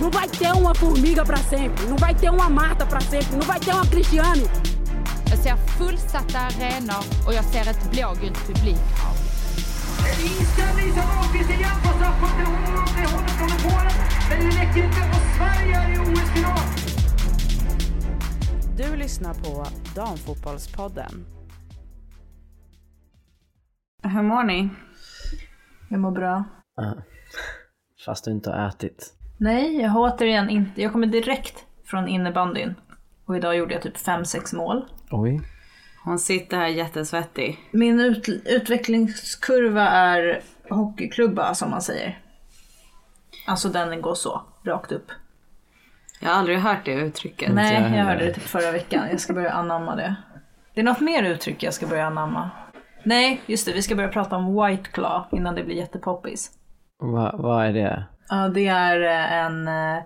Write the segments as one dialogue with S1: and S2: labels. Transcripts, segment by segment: S1: Não vai ter uma formiga para sempre, não vai ter uma Marta para sempre, não vai ter uma Cristiane.
S2: Jag ser fullsatta arenor och jag ser ett blågult publikhav.
S3: Inställning som Ahlqvist igen på straffpunkten. Hon håller från Polen, men det räcker inte. Och Sverige är i OS-final.
S4: Du lyssnar på Damfotbollspodden.
S5: Hur mår ni?
S6: Jag mår bra.
S7: Ah. Fast du inte har ätit.
S6: Nej, jag har återigen inte... Jag kommer direkt från innebandyn. Och idag gjorde jag typ 5-6 mål.
S7: Oj.
S5: Hon sitter här jättesvettig.
S6: Min ut, utvecklingskurva är hockeyklubba som man säger. Alltså den går så, rakt upp.
S5: Jag har aldrig hört det uttrycket.
S7: jag
S6: Nej, jag
S7: heller.
S6: hörde det typ förra veckan. Jag ska börja anamma det. Det är något mer uttryck jag ska börja anamma. Nej, just det, vi ska börja prata om White Claw innan det blir jättepoppis.
S7: Va, vad är det?
S6: Ja, det är eh, en eh,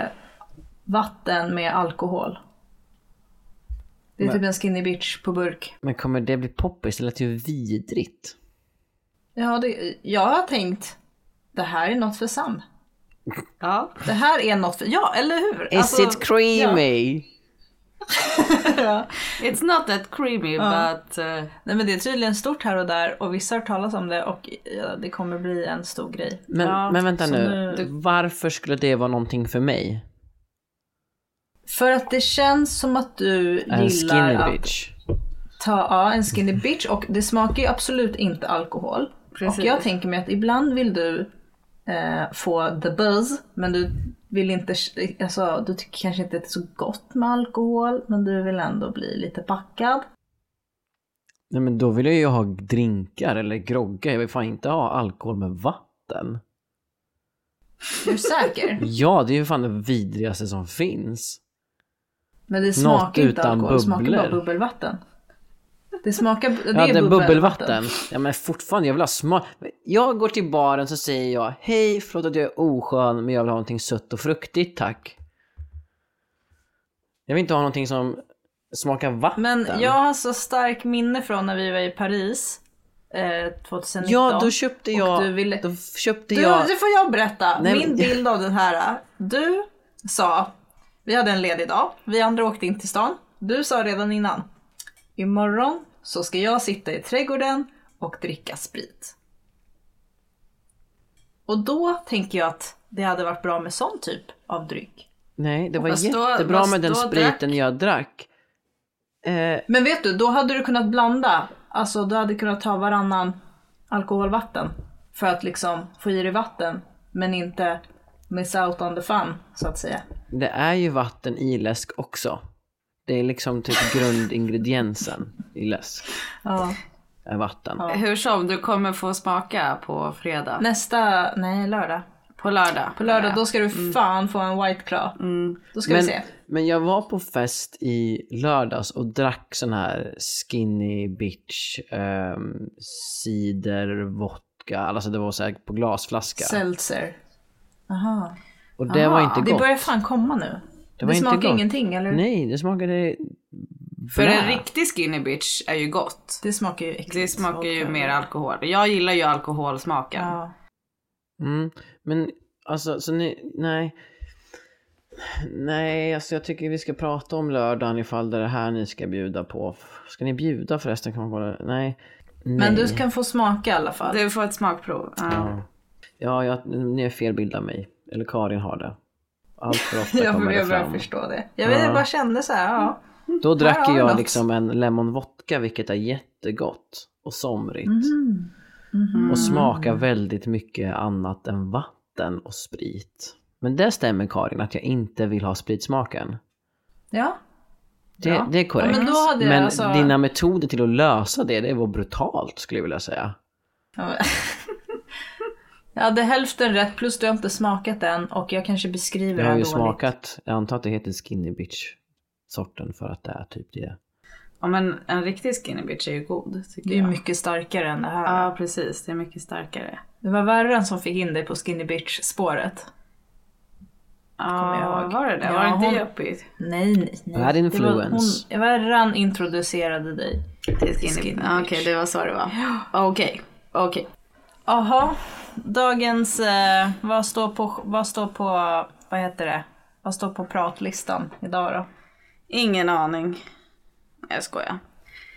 S6: eh, vatten med alkohol. Det är
S7: Men-
S6: typ en skinny bitch på burk.
S7: Men kommer det bli poppis? Det lät ju vidrigt.
S6: Ja, det, jag har tänkt, det här är något för Sam.
S5: Ja.
S6: Det här är något för, Alltså, ja eller hur?
S7: Is it creamy?
S6: Ja.
S5: It's not that creamy
S6: Ja.
S5: but... eh,
S6: Nej men det är tydligen stort här och där och vissa har hört talas om det och ja, det kommer bli en stor grej.
S7: Men,
S5: Ja,
S7: men vänta
S6: så
S7: nu.
S6: nu-
S7: Varför skulle det vara någonting för mig?
S6: För att det känns som att du
S7: En
S6: gillar
S7: skinny
S6: att
S7: bitch.
S6: ta ja, en skinny bitch och det smakar ju absolut inte alkohol.
S5: Precis.
S6: Och jag tänker mig att ibland vill du eh, få the buzz men du vill inte, alltså du tycker kanske inte att det är så gott med alkohol men du vill ändå bli lite packad.
S7: Nej men då vill jag ju ha drinkar eller groggar. Jag vill fan inte ha alkohol med vatten.
S6: Är du säker?
S7: Ja, det är ju fan det vidrigaste som finns.
S6: Men det smakar inte
S7: utan
S6: alkohol, det smakar bara
S7: bubblor.
S6: bubbelvatten. Det smakar, det
S7: Ja,
S6: är
S7: det är
S6: bubbelvatten.
S7: bubbelvatten. Ja, men fortfarande, jag vill ha smak. Jag går till baren så säger jag, hej, förlåt att jag är oskön, men jag vill ha någonting sött och fruktigt, tack. Jag vill inte ha någonting som smakar vatten.
S6: Men jag har så stark minne från när vi var i Paris eh, 2019.
S7: Ja, då köpte
S6: och
S7: jag...
S6: Du ville...
S7: Då köpte
S6: Du,
S7: jag...
S6: Det får jag berätta.
S7: Nej,
S6: Min
S7: men-
S6: bild av den här. Du sa, vi hade en ledig dag, vi andra åkte in till stan. Du sa redan innan, imorgon så ska jag sitta i trädgården och dricka sprit. Och då tänker jag att det hade varit bra med sån typ av dryck.
S7: Nej, det var
S5: Fast då-
S7: jättebra
S5: fast
S7: med den
S5: då
S7: spriten
S5: drack-
S7: jag drack. Eh,
S6: Men vet du, då hade du kunnat blanda. Alltså du hade kunnat ta varannan alkoholvatten. För att liksom få i dig vatten. Men inte miss out on the fun, så att säga.
S7: det är ju vatten i läsk också. Det är liksom typ grundingrediensen i läsk.
S6: Ja.
S7: Är vatten.
S5: Hur som, du kommer få smaka på fredag.
S6: Nästa, nej lördag.
S5: På lördag.
S6: På lördag då ska du fan få en white claw. Då ska
S7: Mm. men,
S6: vi se.
S7: men jag var på fest i lördags och drack sån här skinny bitch ehm, cider, vodka, alltså det var så här på glasflaska.
S6: Seltzer. Aha.
S7: och det var inte
S6: Ah, Det
S7: gott.
S6: börjar fan komma nu.
S7: Det
S6: Det,
S7: var inte
S6: smakar
S7: gott.
S6: ingenting eller?
S7: Nej, det smakade...
S5: För
S7: blä.
S5: en riktig skinny bitch är ju gott.
S6: Det smakar ju äckligt.
S5: Det smakar ju
S6: Vodka.
S5: mer alkohol. Jag gillar ju alkoholsmaken.
S6: Ja.
S7: Mm, men alltså, så ni, nej. Nej, alltså jag tycker vi ska prata om lördagen ifall det är det här ni ska bjuda på. Ska ni bjuda förresten? Kan man kolla? Nej.
S6: Men
S7: Nej.
S6: du kan få smaka i alla fall.
S5: Du får ett smakprov. Ja.
S7: Ja, ja jag, ni har fel bild av mig. Eller Karin har det. Allt för ofta
S6: Jag
S7: kommer det
S6: börjar
S7: fram.
S6: förstå det. Jag, vet,
S7: Ja.
S6: jag bara kände så här, ja.
S7: Då drack
S6: har vi
S7: jag
S6: något.
S7: liksom en lemon vodka vilket är jättegott och somrigt.
S6: Mm. Mhm.
S7: Och smakar väldigt mycket annat än vatten och sprit. Men det stämmer Karin att jag inte vill ha spritsmaken.
S6: Ja.
S7: Det,
S6: Ja.
S7: det är korrekt.
S6: Ja, men då hade jag
S7: Men
S6: alltså-
S7: dina metoder till att lösa det, det var brutalt skulle jag vilja säga.
S6: Ja, men- Jag hade hälften rätt plus du har inte smakat den och jag kanske beskriver
S7: Jag har
S6: den
S7: ju
S6: dåligt.
S7: smakat, jag antar att det heter skinny bitch sorten för att det är typ det.
S5: Ja, men en riktig skinny bitch är ju god. Tycker
S6: Det är
S5: jag.
S6: mycket starkare än det här.
S5: Ja precis, det är mycket starkare.
S6: Det var värre som fick in dig på skinny bitch spåret. Kommer jag
S5: Ja,
S6: ihåg.
S5: var det det?
S6: Ja,
S5: var det inte
S6: hon-
S5: jobbigt?
S6: Nej, nej, nej.
S7: Bad
S6: Det
S7: influence.
S6: Var, hon, värran introducerade dig.
S5: Det är skinny,
S6: Skinny
S5: Ja,
S6: bitch. Ah,
S5: Okej, det var så det var. Okej, okej.
S6: Jaha, dagens... Eh, vad, står på, vad står på vad heter det? Vad står på pratlistan idag då?
S5: Ingen aning. Nej, Jag skojar.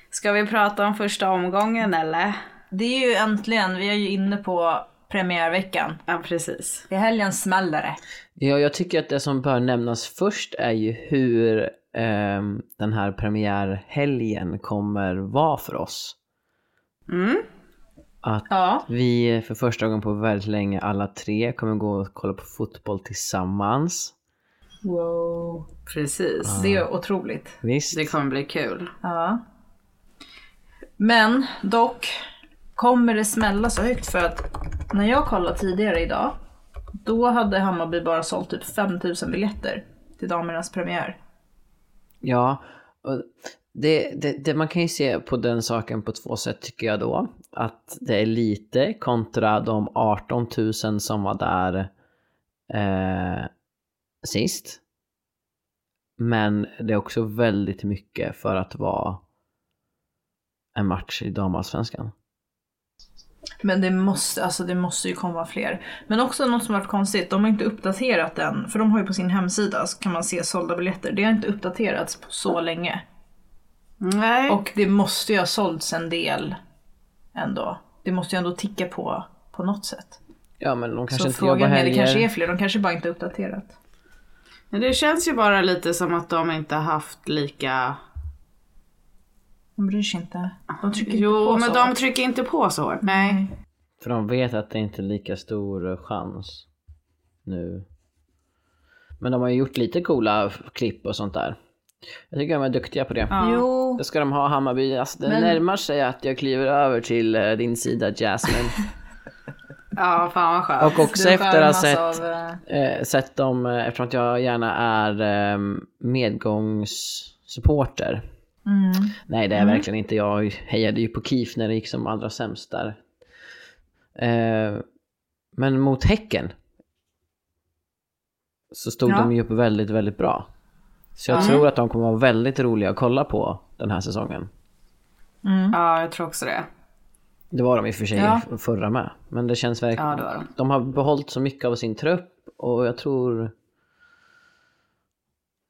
S5: Ska vi prata om första omgången eller?
S6: Det är ju äntligen, vi är ju inne på premiärveckan.
S5: Ja, precis.
S6: I helgen smäller det.
S7: Ja, jag tycker att det som bör nämnas först är ju hur ehm, den här premiärhelgen kommer vara för oss.
S5: Mm.
S7: Att
S6: Ja.
S7: vi för första gången på väldigt länge alla tre kommer gå och kolla på fotboll tillsammans.
S6: Wow.
S5: Precis.
S6: Det är otroligt.
S7: Visst?
S5: Det kommer bli kul.
S6: Ja. Men dock kommer det smälla så högt för att när jag kollade tidigare idag då hade Hammarby bara sålt typ 5000 biljetter till damernas premiär.
S7: Ja, och det, det, det man kan ju se på den saken på två sätt tycker jag då. Att det är lite kontra de 18 000 som var där eh, sist. Men det är också väldigt mycket för att vara en match i damallsvenskan.
S6: Men det måste, alltså det måste ju komma fler. Men också något som varit konstigt, de har inte uppdaterat den. För de har ju på sin hemsida så kan man se sålda biljetter. Det har inte uppdaterats på så länge.
S5: Nej.
S6: Och det måste ju ha sålts en del ändå. Det måste ju ändå ticka på på något sätt.
S7: Ja men de kanske
S6: så
S7: inte jobbar
S6: frågan är,
S7: helger.
S6: det kanske är fler, de kanske bara inte har uppdaterat.
S5: Men det känns ju bara lite som att de inte har haft lika...
S6: De bryr sig inte. De trycker inte
S5: Jo,
S6: på
S5: men
S6: så.
S5: de trycker inte på så hårt. Nej.
S7: För de vet att det inte är lika stor eh, chans nu. Men de har ju gjort lite coola f- klipp och sånt där. Jag tycker de är duktiga på det.
S6: Jo,
S7: Det ska de ha Hammarby. Alltså, det
S6: Men-
S7: närmar sig att jag kliver över till eh, din sida Jasmine.
S5: Ja, fan vad skönt.
S7: Och också efter alltså, att ha sett,
S6: av, eh,
S7: eh, sett dem, eh, eftersom att jag gärna är eh, medgångssupporter.
S6: Mm.
S7: Nej det är verkligen inte. Jag hejade ju på KIF när det gick som allra sämst där. Eh, men mot Häcken så stod
S6: Ja.
S7: de ju upp väldigt, väldigt bra. Så jag tror att de kommer vara väldigt roliga att kolla på den här säsongen.
S6: Mm.
S5: Ja, jag tror också det.
S7: Det var de i och för sig
S6: Ja.
S7: f- förra med. Men det känns verkligen.
S5: Ja, det var de.
S7: har behållit så mycket av sin trupp och jag tror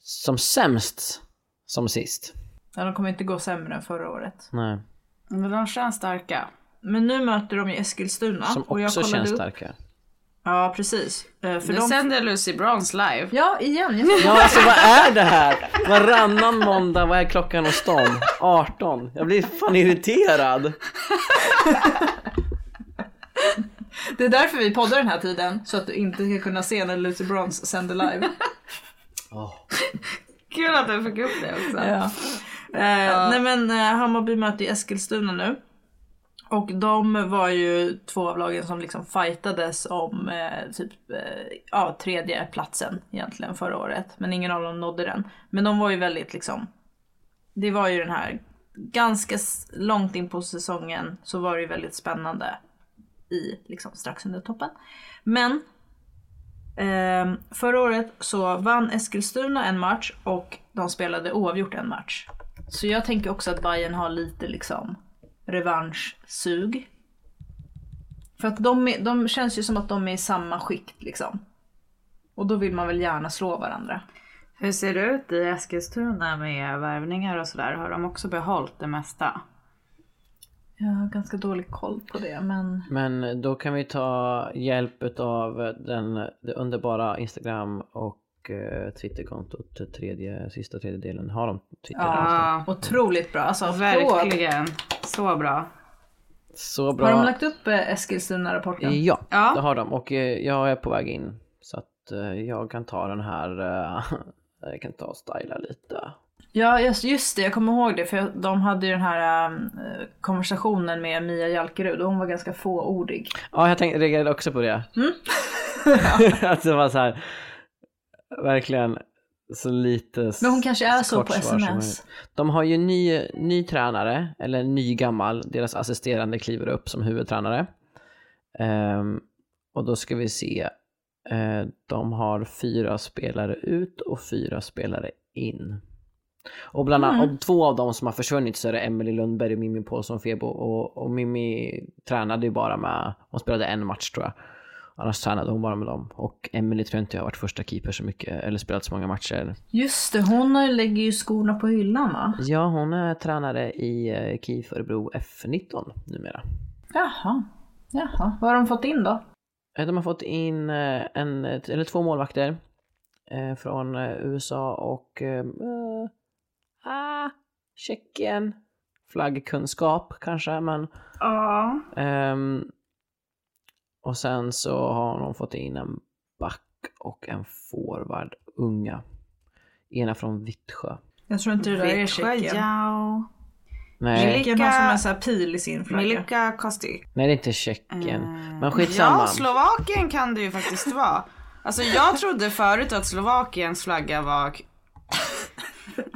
S7: som sämst som sist.
S6: ja, de kommer inte gå sämre än förra året.
S7: Nej.
S5: Men de känns starka.
S6: Men nu möter de ju Eskilstuna.
S7: Som
S6: och jag
S7: också
S6: kollade
S7: känns
S6: upp.
S7: starka.
S6: Ja, precis. Eh, För
S5: nu
S6: de...
S5: sänder Lucy Bronze live.
S6: Ja, igen. Jag...
S7: Ja, alltså vad är det här? Varannan måndag, vad är klockan hos dem? 18. Jag blir fan irriterad.
S6: Det är därför vi poddar den här tiden. Så att du inte ska kunna se när Lucy Bronze sänder live.
S5: Kul att du fick upp det också.
S6: Ja. Eh, Nej men eh, Hammarby möter ju Eskilstuna nu. Och de var ju två av lagen som liksom fightades om eh, typ eh, ja, tredje platsen egentligen förra året. Men ingen av dem nådde den. Men de var ju väldigt liksom, det var ju den här, ganska s- långt in på säsongen så var det ju väldigt spännande i liksom strax under toppen. Men Ehm, förra året så vann Eskilstuna en match och de spelade oavgjort en match. Så jag tänker också att Bayern har lite liksom revanschsug. För att de, är, de känns ju som att de är i samma skikt liksom. Och då vill man väl gärna slå varandra.
S5: Hur ser det ut i Eskilstuna med värvningar och sådär? Har de också behållit det mesta?
S6: Jag har ganska dålig koll på det men...
S7: Men då kan vi ta hjälp av den, det underbara Instagram och eh, Twitterkontot, tredje, sista tredje delen. Har de Twitter?
S5: Ja,
S6: Otroligt bra alltså. applåd.
S5: verkligen. Så bra.
S7: Så bra.
S6: Har de lagt upp eh, Eskilstuna-rapporten?
S7: Ja,
S5: Ja.
S7: det har de. Och eh, jag är på väg in. Så att eh, jag kan ta den här, eh, jag kan ta och styla lite.
S6: Ja just, just det, jag kommer ihåg det för jag- de hade ju den här ehm, eh, konversationen med Mia Jalkerud och hon var ganska fåordig.
S7: Ja, jag tänkte, reagerade också på det.
S6: Mm.
S7: att det var så här, verkligen så lite
S6: Men hon kanske är så
S7: kort
S6: på
S7: svar som
S6: sms.
S7: möjligt. De har ju ny, ny tränare, eller ny gammal, deras assisterande kliver upp som huvudtränare. Ehm, och då ska vi se, Eh, de har fyra spelare ut och fyra spelare in. Och bland annat, och två av dem som har försvunnit så är det Emily Lundberg och Mimmi Paulsson Febo. Och, och Mimmi tränade ju bara med, hon spelade en match tror jag. Annars tränade hon bara med dem. Och Emily tror jag inte har varit första keeper så mycket, eller spelat så många matcher.
S6: Just det, hon har- lägger ju skorna på hyllan va?
S7: Ja, hon är tränare i eh, KIF Örebro F19 numera.
S6: Jaha. Jaha, vad har de fått in då?
S7: Eh, De har fått in eh, en, eller två målvakter eh, från eh, USA och eh, eh, ah, Tjeckien. Flaggkunskap kanske, men
S5: Ja.
S7: Ehm, och sen så har de fått in en back och en forward, unga. Ena från Vittsjö.
S8: Jag tror inte det där är
S5: Vittsjö,
S8: Tjeckien.
S5: ja.
S7: Nej,
S8: Tjeckien har som en sån här pil i sin flagga. Milka Kostic.
S7: nej det är inte Tjeckien.
S8: Eh,
S7: Men skitsamma.
S8: Ja, Slovakien kan det ju faktiskt vara. Alltså jag trodde förut att Slovakiens flagga var...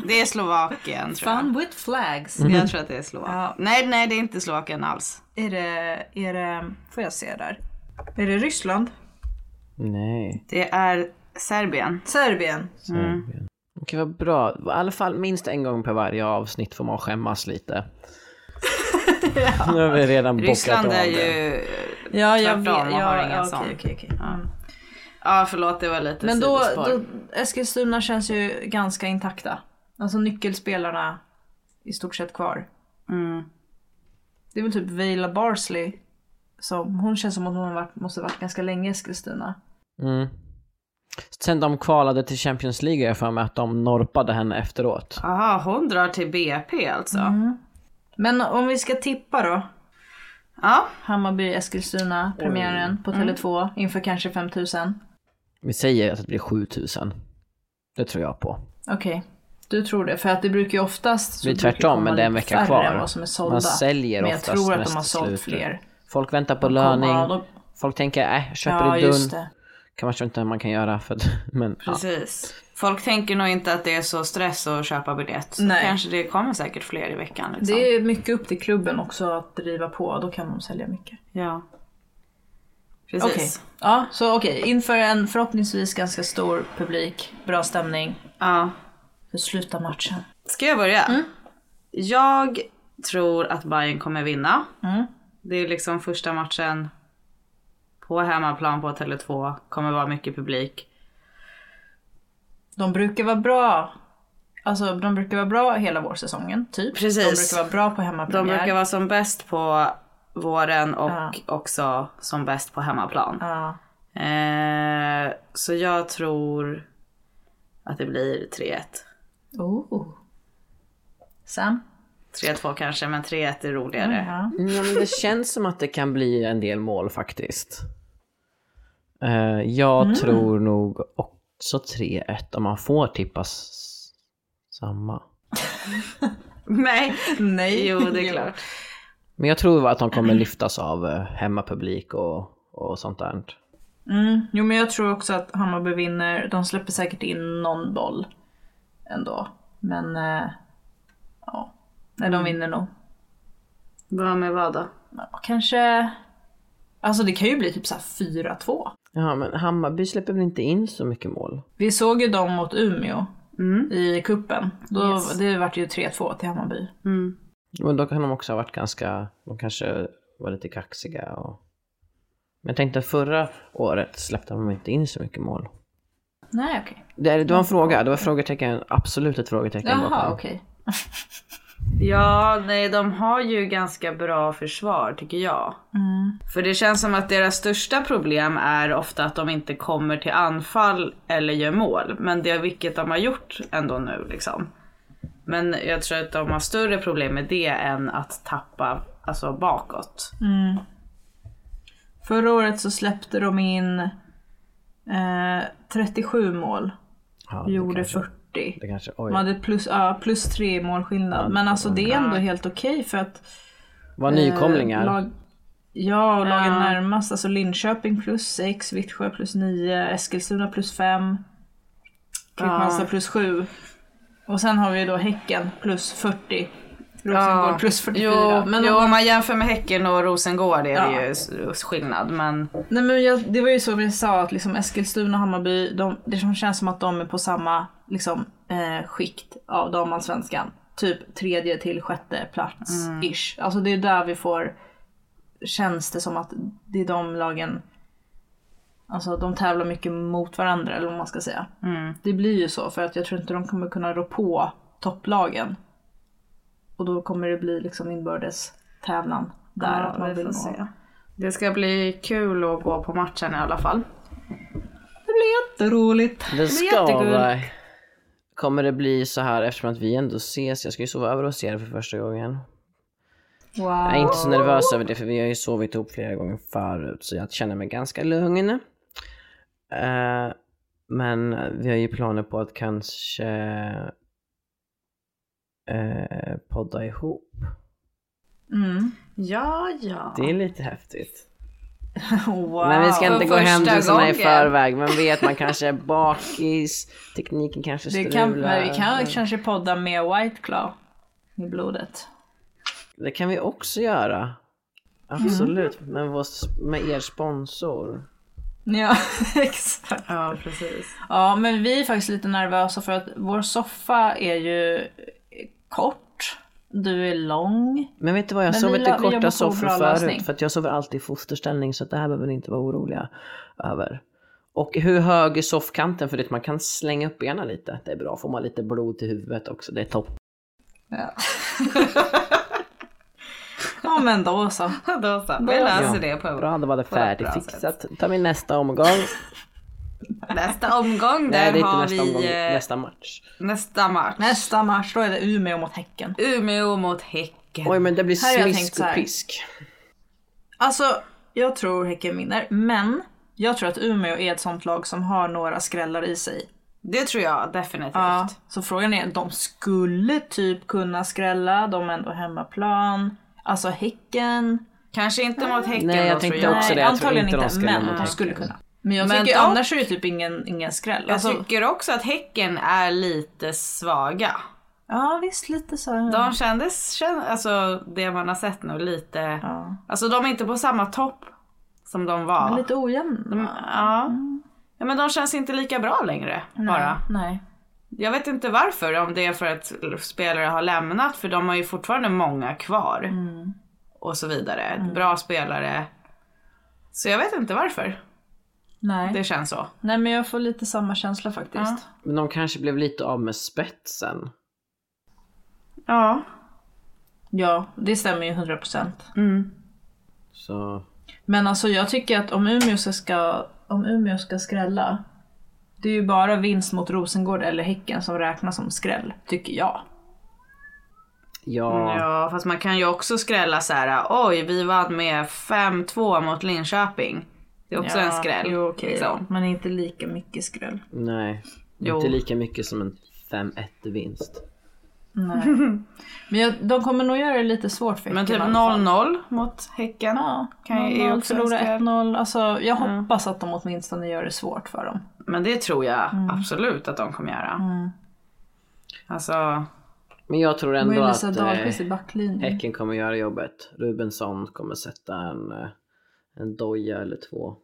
S8: Det är Slovakien tror jag.
S6: Fun with flags.
S7: Mhm.
S8: Jag tror att det är Slovakien.
S6: Ja.
S8: Nej, nej det är inte Slovakien alls.
S6: Är det, är det, får jag se där? Är det Ryssland?
S7: Nej.
S8: Det är Serbien.
S6: Serbien?
S8: Mm.
S7: Serbien. Okej vad bra. I alla fall minst en gång per varje avsnitt får man skämmas lite. Nu har vi redan bockat
S8: Ryssland
S7: av
S8: är
S7: det.
S8: ju...
S6: Ja,
S8: jag vet- ja,
S6: har
S8: ja,
S6: ingen
S8: okej,
S6: sån.
S8: okej, Ja förlåt det var lite
S6: Men då,
S8: sidospår.
S6: då, Eskilstuna känns ju ganska intakta. Alltså nyckelspelarna i stort sett kvar.
S8: Mm.
S6: Det är väl typ Vejla Barsley. Som, hon känns som att hon har varit, måste ha varit ganska länge i Eskilstuna.
S7: Mm. Sen de kvalade till Champions League har jag för mig att de norpade henne efteråt.
S8: Aha, hon drar till BP alltså.
S6: Mm. Men om vi ska tippa då.
S8: Ja,
S6: Hammarby-Eskilstuna, premiären
S7: Mm.
S6: på Tele2 inför kanske 5000.
S7: Vi säger att det blir 7000. Det tror jag på.
S6: Okej, du tror det. För att det brukar ju oftast... så
S7: Det är
S6: brukar
S7: tvärtom,
S6: komma
S7: men det är en
S6: lite
S7: vecka
S6: färre
S7: kvar.
S6: än vad som är sålda.
S7: Man säljer
S6: Men jag
S7: oftast
S6: tror att de
S7: nästa
S6: har sålt
S7: slut.
S6: fler.
S7: Folk väntar på
S6: kommer-
S7: löning.
S6: ja, de-
S7: Folk tänker, äh, jag köper
S6: Ja,
S7: i dun.
S6: just det.
S7: Kanske inte man kan göra för att, men ja.
S8: precis. Folk tänker nog inte att det är så stress att köpa biljett. Så
S6: Nej.
S8: Kanske det kommer säkert fler i veckan. Liksom.
S6: Det är mycket upp till klubben också att driva på. Då kan de sälja mycket.
S8: Ja. Precis.
S6: Okej. Ja, så okej. Inför en förhoppningsvis ganska stor publik, bra stämning.
S8: Ja.
S6: Hur slutar matchen?
S8: Ska jag börja?
S6: Mm.
S8: Jag tror att Bayern kommer vinna.
S6: Mm.
S8: Det är liksom första matchen på hemmaplan på Tele2. Kommer vara mycket publik.
S6: De brukar vara bra. Alltså de brukar vara bra hela vårsäsongen, typ.
S8: Precis.
S6: De brukar vara bra på hemmapremiär.
S8: De brukar vara som bäst på våren och
S6: Ja.
S8: också som bäst på hemmaplan.
S6: Ja.
S8: Eh, så jag tror att det blir 3-1.
S6: Oh. Sam?
S8: 3-2 kanske, men 3-1 är roligare.
S6: Mm, Ja.
S7: Ja, men det känns som att det kan bli en del mål faktiskt. Eh, jag tror nog också 3-1 om man får tippas samma.
S8: Nej,
S6: Nej.
S8: jo det är klart.
S7: Men jag tror att de kommer lyftas av eh, hemmapublik och, och sånt där.
S6: Mm. Jo men jag tror också att Hammarby vinner. De släpper säkert in någon boll ändå. Men eh, ja, nej
S8: Mm.
S6: de vinner nog.
S8: Bra med vad då?
S6: Ja, kanske... Alltså det kan ju bli typ så här 4-2.
S7: Ja, men Hammarby släpper väl inte in så mycket mål?
S6: Vi såg ju dem mot Umeå i kuppen. Då, Det vart ju 3-2 till Hammarby.
S7: Men då kan de också ha varit ganska, de kanske var lite kaxiga och... Men jag tänkte förra året släppte de inte in så mycket mål.
S6: Nej okej.
S7: Det, det var en fråga, det var ett frågetecken, absolut ett frågetecken
S6: Jaha
S7: bakom.
S6: okej.
S8: Ja, nej de har ju ganska bra försvar tycker jag. För det känns som att deras största problem är ofta att de inte kommer till anfall eller gör mål. Men det är vilket de har gjort ändå nu liksom. Men jag tror att de har större problem med det än att tappa alltså, bakåt.
S6: Mm. Förra året så släppte de in eh, 37 mål.
S7: Ja, det
S6: Gjorde
S7: kanske-
S6: 40.
S7: Det kanske,
S6: De
S7: oj.
S6: hade plus, ja, plus 3 i målskillnad. Men alltså det är ändå helt okej för att...
S7: Var
S6: eh,
S7: nykomlingar?
S6: Lag, ja, och lagen närmast. Alltså Linköping plus 6, Vittsjö plus 9, Eskilstuna plus 5, Kristianstad plus 7. Och sen har vi ju då Häcken plus 40. Rosengård plus 44.
S8: Jo,
S6: men
S8: jo,
S6: om-
S8: om man jämför med Häcken och Rosengård är det
S6: Ja.
S8: ju s- skillnad. Men
S6: Nej men jag, det var ju så vi sa att liksom Eskilstuna och Hammarby, de, det som känns som att de är på samma liksom, eh, skikt av damallsvenskan. Typ tredje till sjätte plats ish.
S8: Mm.
S6: Alltså det är där vi får, känns det som att det är de lagen Alltså de tävlar mycket mot varandra eller vad man ska säga.
S8: Mm.
S6: Det blir ju så för att jag tror inte de kommer kunna rå på topplagen. Och då kommer det bli liksom inbördes tävlan där.
S8: Ja,
S6: att man
S8: vi
S6: vill
S8: får
S6: nå.
S8: se. Det ska bli kul att gå på matchen i alla fall.
S6: Det blir jätteroligt.
S7: Det ska
S8: jättekul.
S7: vara. Kommer det bli så här eftersom att vi ändå ses? Jag ska ju sova över hos er för första gången. Jag är
S6: Wow.
S7: inte så nervös över det för vi har ju sovit ihop flera gånger förut så jag känner mig ganska lugn. Eh, men vi har ju planer på att kanske eh, podda ihop.
S6: Mm.
S8: Ja, ja.
S7: Det är lite häftigt.
S6: wow.
S7: Men vi ska
S8: För
S7: inte gå händelserna i
S8: första
S7: förväg. Vem vet, man kanske är bakis, tekniken kanske
S6: det
S7: strular.
S6: kan, men vi kan kanske podda med White Claw i blodet.
S7: Det kan vi också göra. Absolut, men vår, med er sponsor.
S6: Ja, exakt.
S8: Ja, precis.
S6: Ja, men vi är faktiskt lite nervösa för att vår soffa är ju kort, du är lång.
S7: Men vet du vad, jag har
S6: Men vi
S7: sovit
S6: la-
S7: i
S6: vi jobbar på
S7: korta
S6: en
S7: soffor
S6: bra
S7: förut.
S6: lösning.
S7: För att jag sover alltid i fosterställning så att det här behöver ni inte vara oroliga över. Och hur hög är soffkanten? För det, man kan slänga upp benen lite. Det är bra, får man lite blod till huvudet också. Det är topp.
S6: Ja, men då så.
S8: Då så, vi löser
S7: Ja.
S8: det på
S7: Bra, då var det
S8: på ett bra sätt.
S7: färdigfixat. Ta min nästa omgång.
S8: Nästa omgång, där
S7: Nej, det är inte
S8: har
S7: nästa
S8: vi
S7: omgång,
S8: eh,
S7: nästa match.
S8: nästa match.
S6: Nästa match, då är det Umeå mot Häcken.
S8: Umeå mot Häcken.
S7: Oj, men det blir
S6: Här har jag tänkt
S7: smisk
S6: så
S7: och
S6: här.
S7: pisk.
S6: Alltså, jag tror Häcken vinner, men jag tror att Umeå är ett sånt lag som har några skrällar i sig.
S8: Det tror jag definitivt.
S6: Ja, så frågan är, de skulle typ kunna skrälla, de är ändå hemmaplan. Alltså Häcken.
S8: Kanske inte mot Häcken
S7: Nej, jag
S8: då,
S7: tänkte
S8: tror jag.
S7: också det.
S6: Nej,
S7: jag tror
S6: antagligen
S7: inte de
S6: inte,
S7: skräller
S6: men
S7: mot
S6: de
S7: Häcken.
S6: skulle kunna. Men jag
S8: Men
S6: tycker
S8: dock-
S6: annars är det typ ingen, ingen skräll.
S8: Jag
S6: Alltså,
S8: tycker också att Häcken är lite svaga.
S6: Ja visst, lite så. här-
S7: Mm.
S8: De kändes, kän- alltså det man har sett nu, lite...
S6: Ja.
S8: Alltså de är inte på samma topp som de var.
S6: Men Lite ojämna.
S8: de, ja.
S7: Mm.
S8: ja, men de känns inte lika bra längre bara.
S6: Nej.
S8: Jag vet inte varför, om det är för att spelare har lämnat, för de har ju fortfarande många kvar.
S6: Mm.
S8: Och så vidare. Bra spelare. Så jag vet inte varför
S6: Nej.
S8: det känns så.
S6: Nej men jag får lite samma känsla faktiskt.
S7: Men de kanske blev lite av med spetsen.
S8: Ja.
S6: Ja, det stämmer ju 100%.
S7: Så
S6: Men alltså jag tycker att om Umeå ska- ska, om Umeå ska skrälla, det är ju bara vinst mot Rosengård eller Häcken som räknas som skräll, tycker jag. Mm,
S7: ja.
S8: Ja, fast man kan ju också skrälla så här. oj vi vann med 5-2 mot Linköping. Det är också en skräll.
S6: Jo, okej
S8: liksom.
S6: då. Men inte lika mycket skräll.
S7: Nej,
S8: Jo.
S7: inte lika mycket som en 5-1 vinst.
S6: Nej. men jag, de kommer nog göra det lite svårt för
S8: Men
S6: Häcken
S8: typ
S6: i alla fall.
S8: 0-0 mot Häcken.
S6: Ja,
S8: Kan ju- är ju
S6: 0-0,
S8: också en
S6: förlora
S8: skräll.
S6: 1-0. Alltså, jag hoppas att de åtminstone gör det svårt för dem.
S8: Men det tror jag
S6: Mm.
S8: absolut att de kommer göra. Alltså,
S7: Men jag tror
S6: De har
S7: ändå
S6: ju
S7: att
S6: Lisa Dahlqvist i
S7: eh,
S6: backlinjen.
S7: Häcken kommer göra jobbet. Rubensson kommer sätta en, eh, en doja eller två.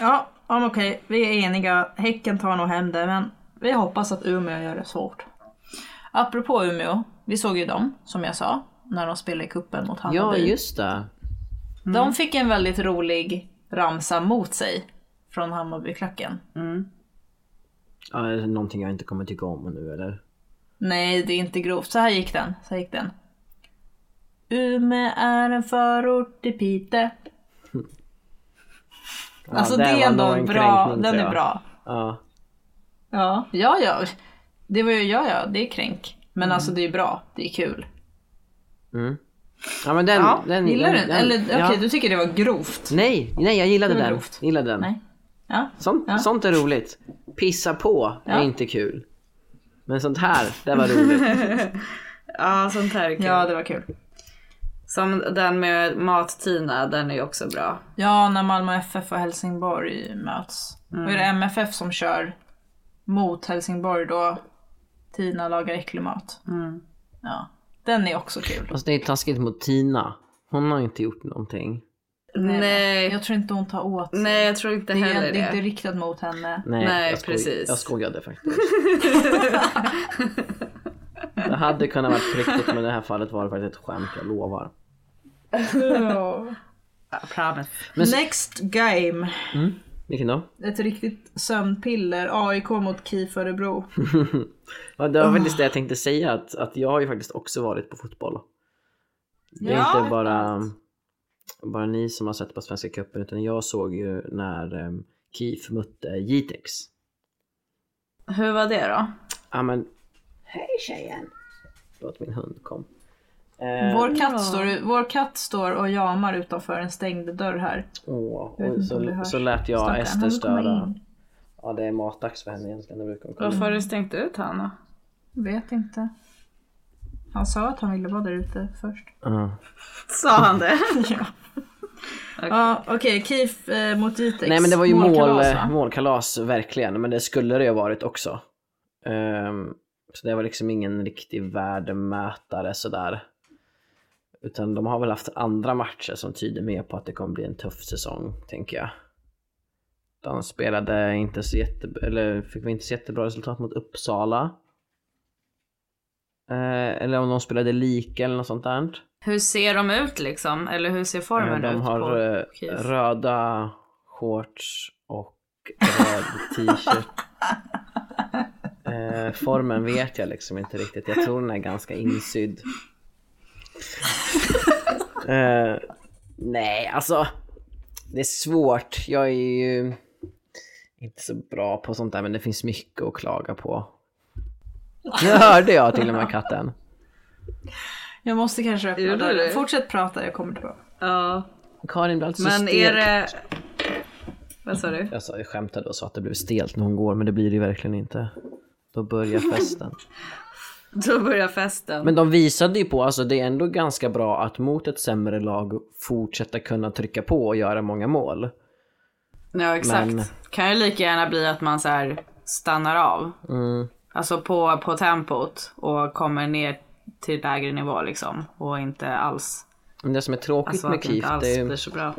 S6: Ja, ja men okej. Vi är eniga. Häcken tar nog hem det, men vi hoppas att Umeå gör det svårt. Apropå Umeå, vi såg ju dem, som jag sa, när de spelade i kuppen mot
S7: Ja,
S6: Hammarby.
S7: just det.
S6: De fick en väldigt rolig ramsa mot sig från Hammarbyklacken.
S7: Ja, är det någonting jag inte kommer tycka om nu eller?
S6: Nej, det är inte grovt. Så här gick den. Så här gick den. Umeå är en förort till Piteå.
S7: Ja,
S6: alltså det
S7: där var
S6: är ändå
S7: nog
S6: en
S7: en
S6: bra.
S7: kränkning,
S6: Den
S7: tror
S6: är
S7: jag.
S6: bra.
S7: Ja.
S6: Ja, ja, ja. Det var ju, ja, ja, det är kränk. Men alltså det är bra, det är kul.
S7: Mm. Ja men den,
S6: Ja,
S7: den
S6: gillar du den? Eller okej,
S7: ja.
S6: du tycker det var grovt.
S7: Nej, nej jag gillade
S6: Det var
S7: den.
S6: grovt.
S7: Gillade den.
S6: Nej. Ja.
S7: Sånt,
S6: Ja.
S7: sånt är roligt. Pissa på är
S6: Ja.
S7: inte kul. Men sånt här, det var roligt.
S8: ja sånt här är kul.
S6: ja, det var kul.
S8: Som den med Mat-Tina, den är ju också bra.
S6: Ja, när Malmö FF och Helsingborg möts. Och är det MFF som kör mot Helsingborg då Tina lagar äcklig mat. Ja, den är också kul.
S7: Fast det är taskigt mot Tina. Hon har inte gjort någonting.
S8: Nej, nej, jag,
S6: Jag tror inte hon tar åt sig.
S8: tror inte
S6: det,
S8: heller
S6: är, det är inte
S8: det.
S6: riktat mot henne.
S7: Nej,
S8: Nej,
S7: jag, skoj,
S8: precis.
S7: jag skojade faktiskt. det hade kunnat vara riktigt men i det här fallet var det faktiskt ett skämt, jag lovar.
S8: Promise.
S7: Men-
S6: Next game.
S7: Vilken då?
S6: Ett riktigt sömnpiller. AIK mot KIF Örebro.
S7: Ja, det var faktiskt
S6: Ah.
S7: det jag tänkte säga, att, att jag har ju faktiskt också varit på fotboll. Det är
S6: Ja,
S7: inte bara, bara ni som har sett på Svenska cupen, utan jag såg ju när um, KIF mötte Jitex.
S8: Hur var det då?
S7: Ja men, hej tjejen! Låt min hund kom. Eh,
S6: Vår katt, står, vår katt står och jamar utanför en stängd dörr här.
S7: åh,
S6: Jag vet
S7: och
S6: inte om det
S7: så,
S6: hörs.
S7: så lät jag
S6: Stackarn, han
S7: Ester
S6: vill komma
S7: störa.
S6: in.
S7: Ja det är matdags för henne egentligen, det brukar hon komma.
S8: Varför har du stängt ut Hanna?
S6: Vet inte. Han sa att han ville vara där ute först.
S7: Ja.
S8: Sa han det?
S6: Ja, okej. KIF eh, mot Jitex.
S7: Nej men det var ju mål,
S6: Målkalas,
S7: eh,
S6: va?
S7: målkalas verkligen, men det skulle det ju ha varit också. Ehm, så det var liksom ingen riktig värdemätare sådär. Utan de har väl haft andra matcher som tyder mer på att det kommer bli en tuff säsong, tänker jag. De spelade inte så jätte, eller fick vi inte så jättebra resultat mot Uppsala. Eh, eller om de spelade lika eller något sånt där.
S8: Hur ser de ut liksom? Eller hur ser
S7: Eh,
S8: formen
S7: De
S8: ut?
S7: har
S8: på
S7: eh,
S8: KIF?
S7: röda shorts och röd t-shirt. Eh, formen vet jag liksom inte riktigt. Jag tror den är ganska insydd. Eh, nej, alltså. Det är svårt. Jag är ju inte så bra på sånt där, men det finns mycket att klaga på. Nu hörde jag till och med katten.
S6: Jag måste kanske öppna
S8: Gjorde
S6: dörren.
S8: du?
S6: Fortsätt prata, jag kommer tillbaka.
S8: Ja.
S7: Karin blir alltid så
S8: Men
S7: stel.
S8: är det... Vad sa du?
S7: Jag, sa, jag skämtade och sa att det blev stelt när hon går, men det blir det ju verkligen inte. Då börjar festen.
S8: Då börjar festen.
S7: Men de visade ju på, alltså det är ändå ganska bra att mot ett sämre lag fortsätta kunna trycka på och göra många mål.
S8: ja exakt.
S7: men-
S8: Kan ju lika gärna bli att man så här stannar av.
S7: Mm.
S8: Alltså på, på tempot och kommer ner till lägre nivå liksom. Och inte alls.
S7: Men det som är tråkigt
S8: Alltså
S7: med
S8: att det
S7: KIF,
S8: inte alls
S7: det är,
S8: blir
S7: ju-
S8: så bra.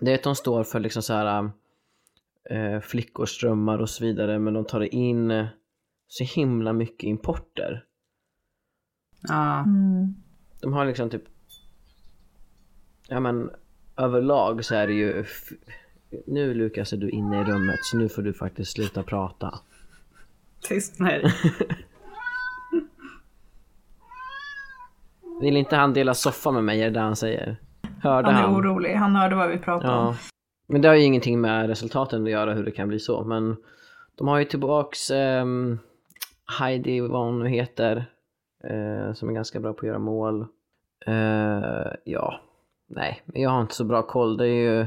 S7: det är att de står för liksom så här eh, flickors drömmar och så vidare, men de tar in eh, så himla mycket importer.
S8: Ja.
S7: De har liksom typ... Ja men överlag så är det ju... Nu Lukas är du inne i rummet så nu får du faktiskt sluta prata.
S8: Tyst med dig.
S7: Vill inte han dela soffa med mig är det det han säger? Hörde
S6: Han är
S7: han?
S6: orolig, han hörde vad vi pratade om.
S7: Ja. Men det har ju ingenting med resultaten att göra hur det kan bli så. Men de har ju tillbaks ehm, Heidi, vad hon nu heter, eh, som är ganska bra på att göra mål. Eh, ja, nej, men jag har inte så bra koll. Det är ju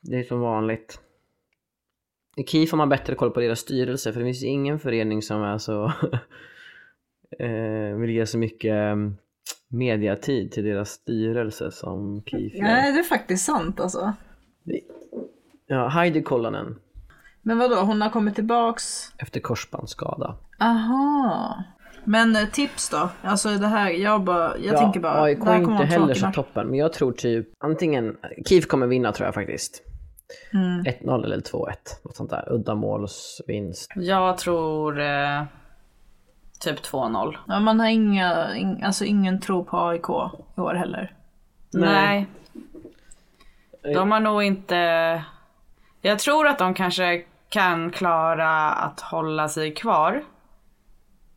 S7: det är som vanligt. I KIF har man bättre koll på deras styrelse för det finns ju ingen förening som är så eh, vill ge så mycket ehm, mediatid till deras styrelse som KIF gör.
S6: Nej, det är faktiskt sant alltså.
S7: Ja, Heidi Kollanen
S6: Men vadå, hon har kommit tillbaks?
S7: efter korsbandsskada.
S6: Aha. Men eh, tips då? Alltså det här, jag bara, jag tänker bara,
S7: AIK
S6: där
S7: är
S6: kommer
S7: inte heller
S6: tråkig
S7: så
S6: match.
S7: toppen, men jag tror typ antingen KIF kommer vinna tror jag faktiskt. 1-0 eller 2-1, något sånt där. Uddamålsvinst.
S8: Jag tror eh, typ 2-0.
S6: Ja, man har inga, ing, alltså ingen tro på AIK i år heller.
S8: Nej. De har nog inte... Jag tror att de kanske kan klara att hålla sig kvar.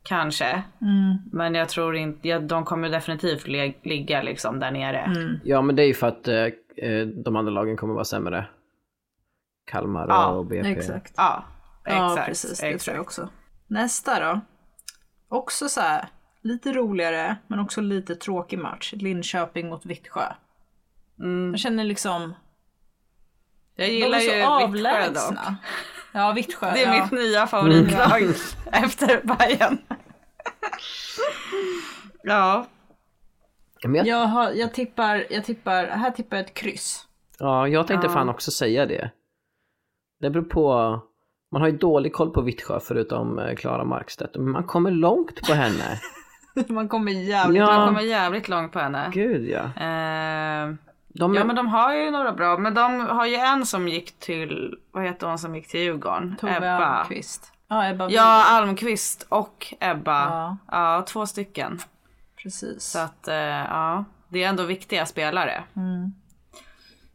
S8: Kanske.
S6: Mm.
S8: Men jag tror inte... Ja, de kommer definitivt le- ligga liksom där nere.
S6: Mm.
S7: Ja, men det är ju för att eh, eh, de andra lagen kommer vara sämre. Kalmar
S8: Ja,
S7: och BP.
S6: Exakt.
S8: Ja,
S6: Ja,
S8: exakt.
S6: precis. Det tror
S8: exakt.
S6: jag också. Nästa då. Också så här, lite roligare men också lite tråkig match. Linköping mot Vittsjö. Jag känner liksom,
S8: Mm. Jag
S6: de är
S8: gillar ju
S6: så
S8: Vittsjö dock.
S6: avlägsna. Ja, Vittsjö.
S8: Det är
S6: ja.
S8: mitt nya favoritlag efter Bayern. ja,
S7: Men jag, ja.
S6: Jag, har, jag, tippar, jag tippar, här tippar jag ett kryss.
S7: jag tänkte fan också säga det. Det beror på. Man har ju dålig koll på Vittsjö förutom eh, Klara Markstedt, men man kommer långt på henne.
S6: Man kommer jävligt...
S8: man kommer
S7: ja,
S8: jävligt långt på henne.
S7: gud ja.
S8: Eh,
S7: De,
S8: Ja men de har ju några bra, men de har ju en som gick till, vad heter hon som gick till Djurgården?
S6: Tove Almqvist. Ja, Ebba
S8: Ja, Almqvist och Ebba.
S6: Ja.
S8: Ja, två stycken.
S6: Precis.
S8: Så att eh, ja, det är ändå viktiga spelare.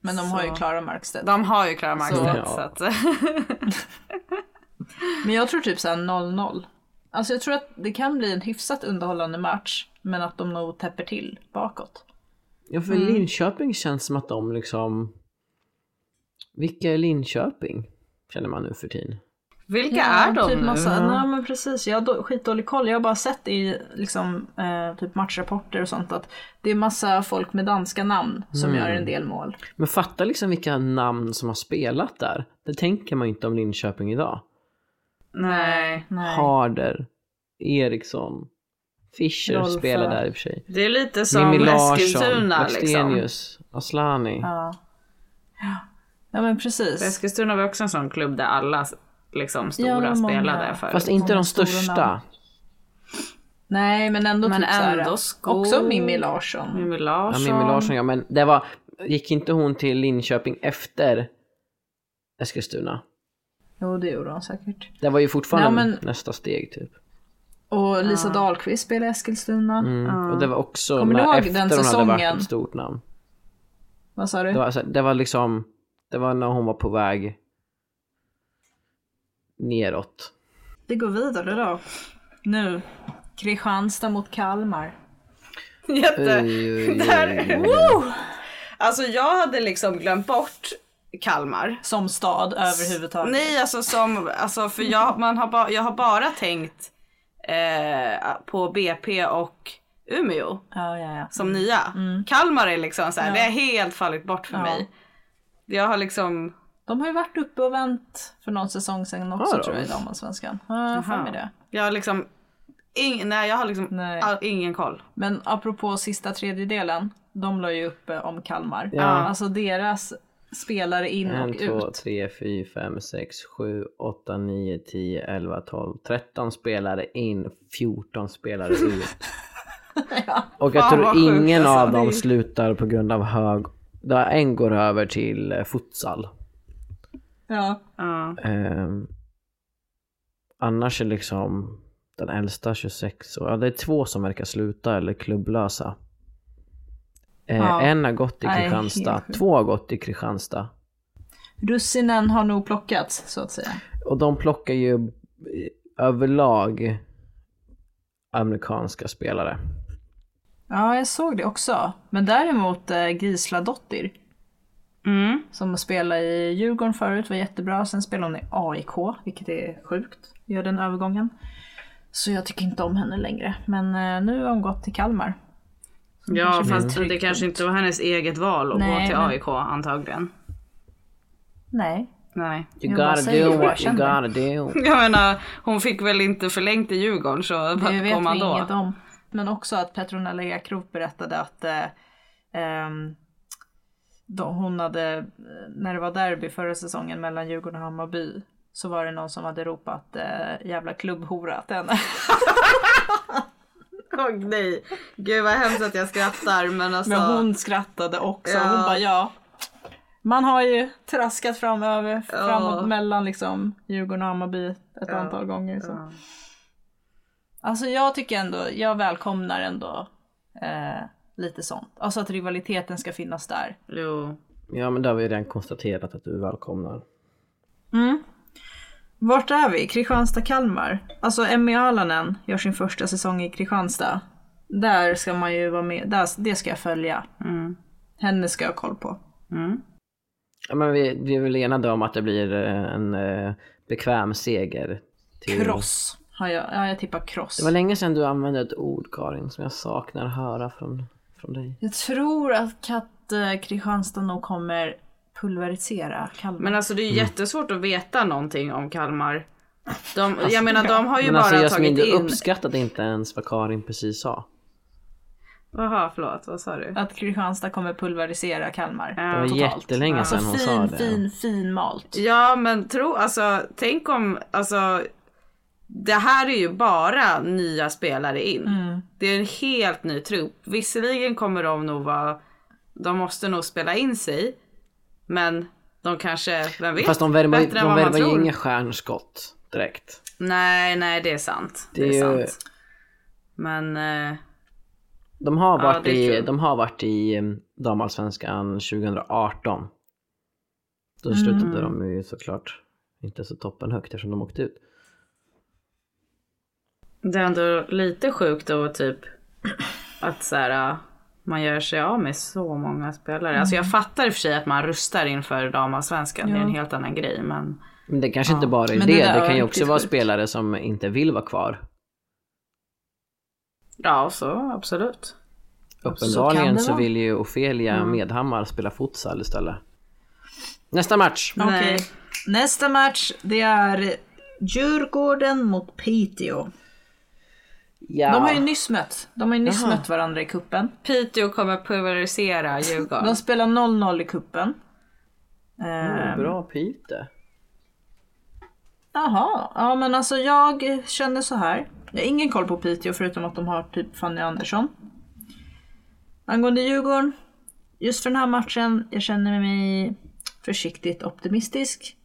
S6: Men de har ju Klara Markstedt.
S8: De har ju Clara Markstedt.
S7: Så-
S8: Så. att, eh,
S6: Men jag tror typ såhär 0-0. Alltså jag tror att det kan bli en hyfsat underhållande match. Men att de nog täpper till bakåt.
S7: Ja, för
S6: Mm.
S7: Linköping känns som att de liksom... Vilka är Linköping? Känner man nu för tiden.
S8: vilka
S6: Ja,
S8: är de
S6: typ
S8: nu?
S6: massa, Nej men precis, jag har då- skitdålig koll. Jag har bara sett i liksom, eh, typ matchrapporter och sånt att det är massa folk med danska namn som
S8: Mm.
S6: gör en del mål.
S7: Men fatta liksom vilka namn som har spelat där. Det tänker man ju inte om Linköping idag.
S8: Nej.
S6: Nej.
S7: Harder, Eriksson, Fischer
S6: Rolfö.
S7: spelar där i och för sig.
S8: Det är lite som
S7: Mimmi Larsson,
S8: Eskilstuna liksom.
S7: Blackstenius, Aslani.
S6: Ja. ja men precis.
S8: Eskilstuna var också en sån klubb där alla liksom
S6: Ja,
S8: stora
S6: många.
S8: spelade förut.
S7: Fast inte de
S6: stora
S7: största.
S6: namn. Nej men ändå
S8: Men
S6: typ så här,
S8: ändå skog.
S6: Också Mimmi Larsson.
S8: Mimmi
S7: Ja,
S8: Larsson.
S7: Mimmi Larsson ja, men det var... Gick inte hon till Linköping efter Eskilstuna?
S6: Jo det gjorde hon säkert.
S7: Det var ju fortfarande
S6: Ja, men-
S7: nästa steg typ.
S6: Och Lisa Dahlqvist spelade i Eskilstuna.
S7: Mm. Och det var också
S6: Kommer du
S7: när
S6: ihåg
S7: efter
S6: den
S7: hon hade varit
S6: säsongen?
S7: ett stort namn.
S6: Vad sa du?
S7: Det var, alltså, det var liksom, det var när hon var på väg neråt.
S6: Det går vidare då. Nu. Kristianstad mot Kalmar.
S8: Jätte...
S7: Oj, oj, oj.
S8: Där. Woo! Alltså jag hade liksom glömt bort Kalmar.
S6: Som stad överhuvudtaget.
S8: Nej, alltså som, alltså för jag, man har ba, jag har bara tänkt eh, på BP och Umeå
S6: Ja, ja, ja.
S8: som nya. Kalmar är liksom så här, det har helt fallit bort för
S6: Mm. Ja.
S8: mig. Jag har liksom,
S6: De har ju varit uppe och vänt för någon säsong sedan också
S7: Har de?
S6: tror jag i damallsvenskan. Ja, jag har för mig det.
S8: jag har liksom, ing, nej jag har liksom
S6: Nej.
S8: all, ingen koll.
S6: Men apropå sista tredjedelen. De la ju upp eh, om Kalmar.
S7: Ja.
S6: Alltså deras spelare in och
S7: En, två,
S6: ut.
S7: tre, fyra, fem, sex, sju, åtta, nio, tio, elva, tolv, tretton spelare in, 14 spelare ut. Och jag
S8: Fan, vad
S7: tror
S8: sjukt,
S7: ingen
S8: alltså.
S7: av
S8: Det
S7: dem
S8: är-
S7: slutar på grund av hög... där En går över till eh, futsal.
S6: Ja.
S8: Ja.
S7: Ehm, annars är liksom den äldsta 26 år. Ja, det är två som verkar sluta eller klubblösa. Eh,
S6: Ja.
S7: En har gått till
S6: Nej,
S7: Kristianstad,
S6: helt sjukt.
S7: två har gått till Kristianstad.
S6: Russinen har nog plockats så att säga.
S7: Och de plockar ju eh, överlag amerikanska spelare.
S6: Ja, jag såg det också. Men däremot eh, Gisladottir.
S8: Mm.
S6: Som spelade i Djurgården förut, var jättebra. Sen spelade hon i AIK, vilket är sjukt. Gör den övergången. Så jag tycker inte om henne längre. Men eh, nu har hon gått till Kalmar.
S8: Ja fast det kanske inte var hennes eget val att
S6: Nej,
S8: gå till
S6: men-
S8: AIK antagligen.
S6: Nej.
S8: Nej.
S7: You
S6: Jag bara
S7: gotta
S6: säger
S7: do
S6: vad jag
S7: what you
S6: känner.
S7: gotta do.
S8: Jag menar, hon fick väl inte förlängt i Djurgården så
S6: Det
S8: vart
S6: vet
S8: kom man
S6: vi
S8: då?
S6: inget om. Men också att Petronella Ekroth berättade att eh, ehm, då hon hade, eh, när det var derby förra säsongen mellan Djurgården och Hammarby, så var det någon som hade ropat eh, jävla klubbhora till henne.
S8: Åh nej, gud vad hemskt att jag skrattar men alltså.
S6: Men hon skrattade också. Hon
S8: Ja.
S6: bara ja. Man har ju traskat framöver, framåt mellan liksom Djurgården och Hammarby ett antal gånger. Så. Alltså jag tycker ändå, jag välkomnar ändå eh, lite sånt. Alltså att rivaliteten ska finnas där.
S8: Jo.
S7: Ja men det har vi redan konstaterat att du välkomnar.
S6: Mm. Vart är vi? Kristianstad-Kalmar. Alltså Emmy Alanen gör sin första säsong i Kristianstad. Där ska man ju vara med, där, det ska jag följa.
S8: Mm.
S6: Henne ska jag ha koll på.
S7: Ja, men vi, vi är väl enade om att det blir eh, en eh, bekväm seger. Till...
S6: Kross. Har jag, ja, jag tippar kross.
S7: Det var länge sedan du använde ett ord Karin som jag saknar höra från, från dig.
S6: Jag tror att Katt eh, Kristianstad nog kommer pulverisera Kalmar.
S8: Men alltså det
S7: Mm.
S8: är jättesvårt att veta någonting om Kalmar. De, jag menar de har ju
S7: Men
S8: bara
S7: alltså Jasmin,
S8: tagit
S7: du
S8: in.
S7: uppskattade inte ens vad Karin precis sa.
S8: Jaha förlåt, vad sa du?
S6: Att Kristianstad kommer pulverisera Kalmar.
S8: Ja.
S7: Det var
S6: Totalt. Alltså,
S7: jättelänge sedan hon
S6: fin,
S7: sa det.
S6: fin, fin malt.
S8: Ja men tro, alltså tänk om, alltså det här är ju bara nya spelare in.
S6: Mm.
S8: Det är en helt ny trupp. Visserligen kommer de nog vara, de måste nog spela in sig. Men de kanske, vem vet?
S7: Fast de värvar,
S8: Bättre än
S7: de
S8: vad man
S7: värvar ju
S8: tror.
S7: inga stjärnskott direkt.
S8: Nej, nej det är sant. Det,
S7: Det
S8: är,
S7: är ju-
S8: sant. Men eh,
S7: De har
S8: Ja,
S7: varit,
S8: det är
S7: i, mm,
S8: kul.
S7: de har varit i eh, damallsvenskan 2018. Då
S8: Mm.
S7: slutade de ju såklart inte så toppen högt eftersom de åkte ut.
S8: Det är ändå lite sjukt då typ att så här, man gör sig av med så många spelare. Alltså
S6: Mm.
S8: jag fattar i och för sig att man rustar inför damallsvenskan, det är en helt annan grej. Men
S7: Men det kanske inte bara är det,
S6: men det där
S7: det,
S6: var
S7: kan ju
S6: riktigt
S7: också vara
S6: sjukt.
S7: spelare som inte vill vara kvar.
S8: ja, så absolut.
S6: kan
S7: Uppenbarligen
S6: det
S7: så,
S6: vara.
S7: vill ju Ofelia Medhammar spela futsal istället. Nästa match!
S6: Okej. Nästa match, det är Djurgården mot Piteå.
S7: Ja.
S6: De har ju nyss mött. De har ju nyss mött varandra i kuppen.
S8: Piteå kommer pulverisera Djurgården.
S6: De spelar 0-0 i kuppen. Eh,
S7: Bra Pite.
S6: Jaha, ja men alltså jag känner så här. Jag har ingen koll på Piteå förutom att de har typ Fanny Andersson. Angående Djurgården, just för den här matchen, jag känner mig försiktigt optimistisk.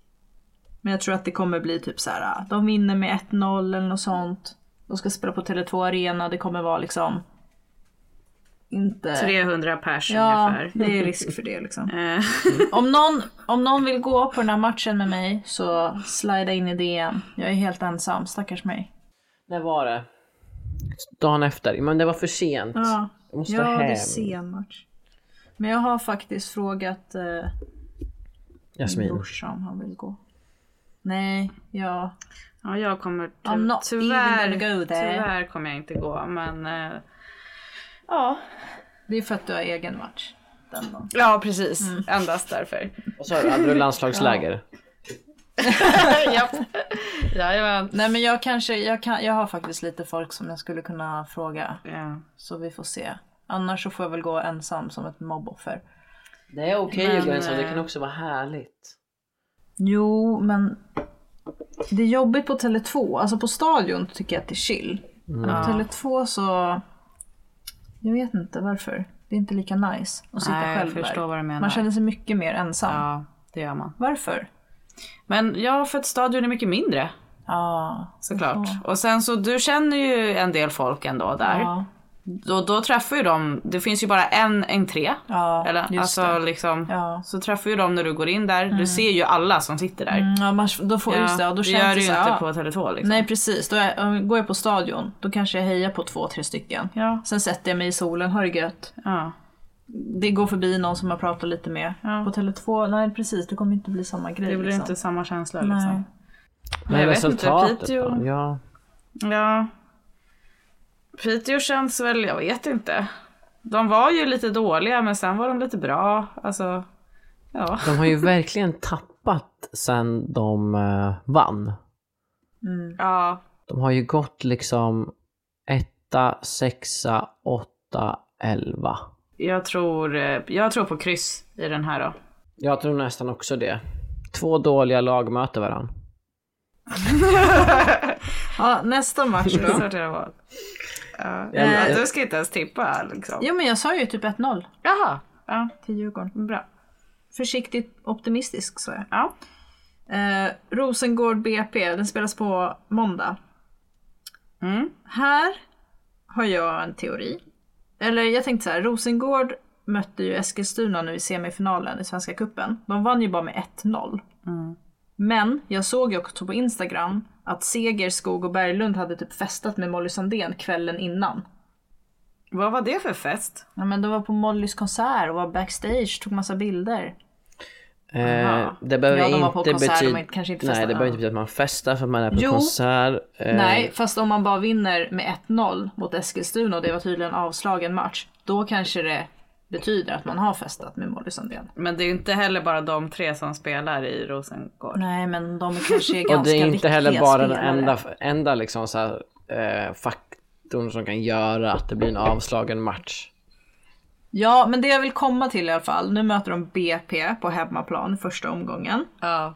S6: Men jag tror att det kommer bli typ så här. de vinner med 1-0 eller något sånt. De ska spela på Tele2 Arena, det kommer vara liksom... Inte...
S8: 300 pers
S6: ja,
S8: ungefär.
S6: det är risk för det liksom.
S8: Eh,
S6: Om någon, om någon vill gå på den här matchen med mig så slida in i DM. Jag är helt ensam, stackars mig.
S7: När var det? Dagen efter. Men det var för sent.
S6: Ja,
S7: Jag måste
S6: ja det
S7: hem.
S6: är sen match. Men jag har faktiskt frågat eh, min
S7: Jasmin.
S6: brorsa om han vill gå. Nej, jag...
S8: ja, jag kommer
S6: I'm not
S8: tyvärr,
S6: even gonna go there.
S8: tyvärr kommer jag inte gå. Men eh, ja.
S6: Det är för att du har egen Mm. match. Den dagen.
S8: ja, precis. Endast därför.
S7: Vad sa du? Hade du landslagsläger?
S8: Japp. Jajamän.
S6: Nej men jag kanske, jag, kan, jag har faktiskt lite folk som jag skulle kunna fråga.
S8: Ja.
S6: Så vi får se. Annars så får jag väl gå ensam som ett mobboffer.
S7: Det är okej att gå
S8: Men,
S7: ensam. Det kan
S8: eh,
S7: också vara härligt.
S6: Jo, men det är jobbigt på Tele2. Alltså på Stadion tycker jag att det är chill. Men På Tele2 så... Jag vet inte varför. Det är inte lika nice att sitta
S8: Nej, jag
S6: själv
S8: förstår
S6: där.
S8: vad du menar.
S6: Man känner sig mycket mer ensam.
S8: ja, det gör man.
S6: Varför?
S8: Men ja, för att stadion är mycket mindre
S6: Ja.
S8: såklart. Och sen så, du känner ju en del folk ändå där.
S6: Ja.
S8: Då, då träffar ju de, det finns ju bara en entré.
S6: Ja,
S8: eller,
S6: just
S8: alltså
S6: det.
S8: liksom.
S6: Ja.
S8: Så träffar ju de när du går in där. Du ser ju alla som sitter där.
S6: Mm, ja man, då får, just det, ja, då
S8: det gör
S6: känns
S8: du ju
S6: det så
S8: inte
S6: här, ja.
S8: på Tele2 liksom.
S6: Nej precis, då är, om- går jag på Stadion då kanske jag hejar på två, tre stycken.
S8: Ja.
S6: Sen sätter jag mig i solen, har det gött.
S8: Ja.
S6: Det går förbi någon som jag pratar lite med.
S8: Ja.
S6: På Tele2, nej precis, det kommer inte bli samma grej.
S8: Det blir
S6: liksom.
S8: inte samma känsla
S6: Nej.
S8: liksom.
S7: Men
S8: jag vet inte,
S7: resultatet
S8: Piteå-
S7: då? Ja.
S8: Ja. Piteå känns väl, jag vet inte. De var ju lite dåliga men sen var de lite bra. Alltså, ja.
S7: De har ju verkligen tappat sen de eh, vann.
S8: Ja,
S7: De har ju gått liksom etta, sexa, åtta, elva.
S8: jag tror, eh, jag tror på kryss i den här då.
S7: Jag tror nästan också det. Två dåliga lag möter varandra.
S6: Ja, nästa match då.
S8: Sortera val. Ja. Eh, Du ska inte ens tippa liksom.
S6: Jo men jag sa ju typ 1-0
S8: Jaha, ja,
S6: till Djurgården.
S8: bra.
S6: Försiktigt optimistisk sa jag.
S8: Ja.
S6: Eh, Rosengård BP, den spelas på måndag.
S8: Mm.
S6: Här har jag en teori. Eller jag tänkte så här, Rosengård mötte ju Eskilstuna nu i semifinalen i Svenska Kuppen. De vann ju bara med 1-0.
S8: Mm.
S6: Men jag såg ju också på Instagram att Seger, Skog och Berglund hade typ festat med Molly Sandén kvällen innan.
S8: Vad var det för fest?
S6: Ja men de var på Mollys konsert och var backstage, tog massa bilder.
S7: Eh, det behöver
S6: Ja, de var på
S7: inte
S6: konsert, de
S7: betyda...
S6: har inte- kanske inte
S7: Nej, det
S6: festat,
S7: behöver
S6: ja.
S7: inte betyda att man festar för att man är på
S6: Jo.
S7: konsert. Eh,
S6: Nej, fast om man bara vinner med 1-0 mot Eskilstuna och det var tydligen avslagen match, då kanske det betyder att man har festat med Molly Sandén.
S8: Men det är ju inte heller bara de tre som spelar i Rosengård.
S6: Nej, men de kanske är ganska
S7: Och det är inte
S6: viktiga
S7: heller bara den
S6: spelare.
S7: enda, enda liksom så här, eh, faktorn som kan göra att det blir en avslagen match.
S6: Ja, men det jag vill komma till i alla fall, nu möter de BP på hemmaplan första omgången.
S8: Ja.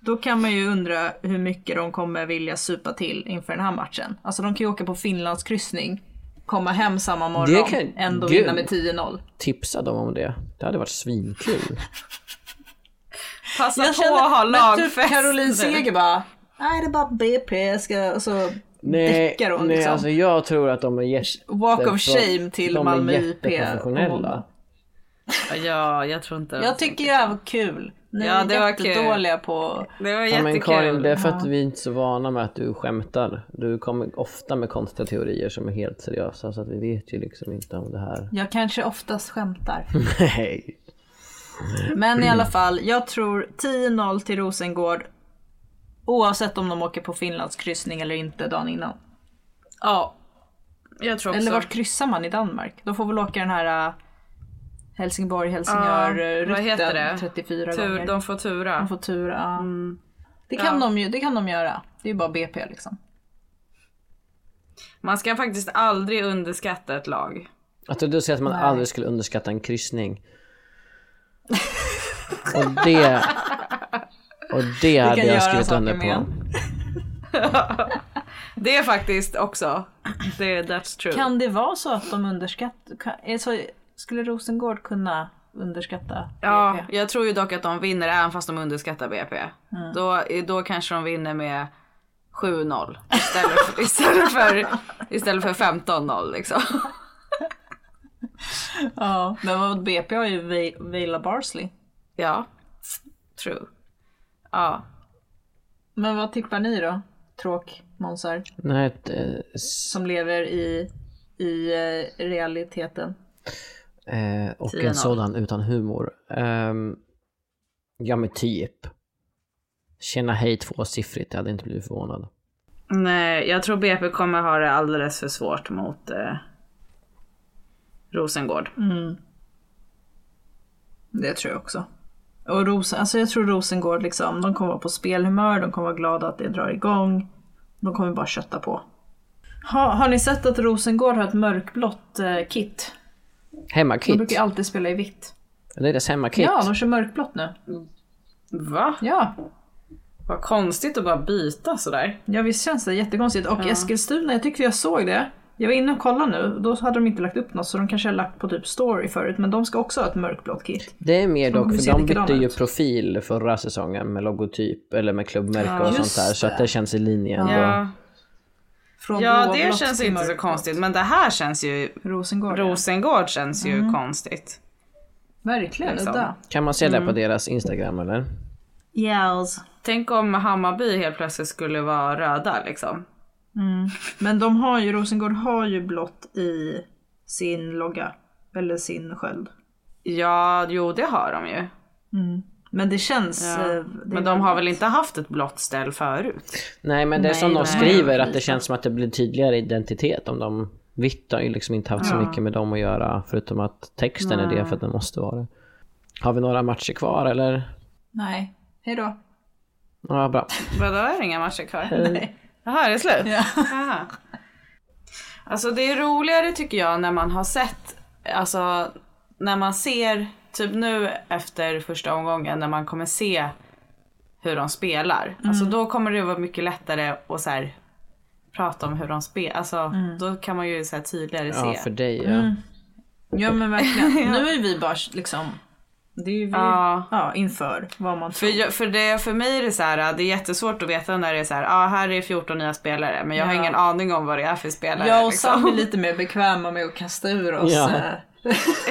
S6: Då kan man ju undra hur mycket de kommer vilja supa till inför den här matchen. Alltså de kan ju åka på Finlandskryssning, komma hem samma morgon,
S7: kan-
S6: ändå
S7: Gud.
S6: vinna med 10-0.
S7: Tipsa dem om det. Det hade varit svinkul.
S8: Passa
S6: Jag
S8: på att ha
S6: känner, men typ
S8: lagfest
S6: Caroline
S8: nu.
S6: Seger bara, nej det är bara BP, ska, och så
S7: Nej,
S6: däckar hon
S7: nej
S6: liksom.
S7: alltså jag tror att de är jätte...
S6: Walk of shame till
S7: de
S6: Malmö
S7: är
S6: IP på
S7: jätteprofessionella.
S6: måndag.
S8: Ja, jag tror inte
S6: jag tycker det här var kul. Ni
S8: Ja,
S6: är
S8: det var
S6: jättedåliga på...
S8: Det var
S7: Ja,
S8: jättekul.
S7: men Karin, det är för att vi är inte är så vana med att du skämtar. Du kommer ofta med konstiga teorier som är helt seriösa så att vi vet ju liksom inte om det här.
S6: Jag kanske oftast skämtar.
S7: Nej.
S6: Men i alla fall, jag tror 10-0 till Rosengård. Oavsett om de åker på Finlands kryssning eller inte dagen innan.
S8: Ja, jag tror också.
S6: Eller vart kryssar man i Danmark? De får väl åka den här äh, Helsingborg-Helsingör-rutten
S8: vad heter det?
S6: 34
S8: Tur,
S6: gånger.
S8: de Mm. får tura.
S6: De får tur. Ja. Det, kan de ju, det kan de göra. Det är ju bara BP liksom.
S8: Man ska faktiskt aldrig underskatta ett lag.
S7: Jag trodde du säger att man aldrig skulle underskatta en kryssning. Och det... Och det hade
S6: kan göra
S7: jag skrivit
S6: saker
S7: under
S6: med
S7: på.
S6: en.
S8: Det är faktiskt också. Det, är- that's true.
S6: Kan det vara så att de underskattar... kan- är så- Skulle Rosengård kunna underskatta
S8: ja,
S6: BP?
S8: jag tror ju dock att de vinner även fast de underskattar BP.
S6: Mm.
S8: Då, då kanske de vinner med 7-0 istället för, istället för, istället för 15-0 liksom.
S6: Ja. Men vad BP har ju Ve- Vela Barsley.
S8: Ja, true. Ja,
S6: Men vad tippar ni då? Tråkmånsar
S7: Nej, ett, eh, s-
S6: som lever i, i eh, realiteten.
S7: eh, och en
S8: 10-0.
S7: sådan utan humor. Ehm, ja men typ. Känna hej tvåsiffrigt, jag hade inte blivit förvånad.
S8: Nej, jag tror BP kommer ha det alldeles för svårt mot eh, Rosengård.
S6: Mm. Det tror jag också. Och Rosen, alltså jag tror Rosengård liksom, de kommer vara på spelhumör, de kommer vara glada att det drar igång. De kommer bara kötta på. Ha, har ni sett att Rosengård har ett mörkblått eh, kit? De
S7: Hemmakit.
S6: brukar ju alltid spela i vitt.
S7: Det är deras hemmakit.
S6: Ja, de kör mörkblått nu.
S8: Va?
S6: Ja,
S8: Vad konstigt att bara byta sådär.
S6: ja visst känns det jättekonstigt. Och Eskilstuna, jag tyckte jag såg det. Jag var inne och kollade nu, då hade de inte lagt upp något så de kanske har lagt på typ story förut. Men de ska också ha ett mörkblått kit.
S7: Det är mer
S6: kommer
S7: dock,
S6: se
S7: för de
S6: likadana
S7: bytte ju
S6: ut.
S7: profil förra säsongen med logotyp eller med klubbmärke och
S6: just
S7: sånt där. Så att det känns i linje ändå.
S8: Ja,
S6: Från
S8: ja det
S6: blåblått
S8: känns ju
S6: till
S8: inte så
S6: mörkblått.
S8: konstigt. Men det här känns ju...
S6: Rosengård, ja.
S8: Rosengård känns ju
S6: Mm.
S8: konstigt.
S6: Verkligen,
S8: Liksom.
S6: udda.
S7: Kan man se det på deras Instagram eller?
S6: Yes.
S8: Tänk om Hammarby helt plötsligt skulle vara röda liksom.
S6: Men de har ju, Rosengård har ju blått i sin logga. Eller sin sköld.
S8: Ja, jo det har de ju.
S6: Men det känns... eh, det
S8: Men de har väl inte haft ett blått ställ förut?
S7: Nej men det är som
S6: Nej,
S7: de
S6: nej.
S7: skriver att det känns som att det blir tydligare identitet om de vitt har ju liksom inte haft så mycket med dem att göra förutom att texten är det för att den måste vara det. Har vi några matcher kvar eller?
S6: Nej. Hejdå.
S7: Ja bra.
S8: Vadå, är det inga matcher kvar? Nej. Jaha, är det slut? Jaha. Alltså det är roligare tycker jag när man har sett, alltså när man ser, typ nu efter första omgången när man kommer se hur de spelar.
S6: Mm.
S8: Alltså då kommer det vara mycket lättare att så här, prata om hur de spelar. Alltså
S6: Mm.
S8: då kan man ju så här, tydligare
S7: Ja
S8: se.
S7: för dig ja.
S6: Ja men verkligen. Nu är vi bara liksom... Det är ju vi
S8: Ja.
S6: ja, inför vad man
S8: För,
S6: tror.
S8: jag, för, det, för mig är det så här, det är jättesvårt att veta när det är så här, ah, här är 14 nya spelare men jag har
S6: Ja.
S8: ingen aning om vad det är för spelare.
S6: Jag och
S8: liksom.
S6: Sam är lite mer bekväma med att kasta ur oss
S7: Ja.
S6: eh,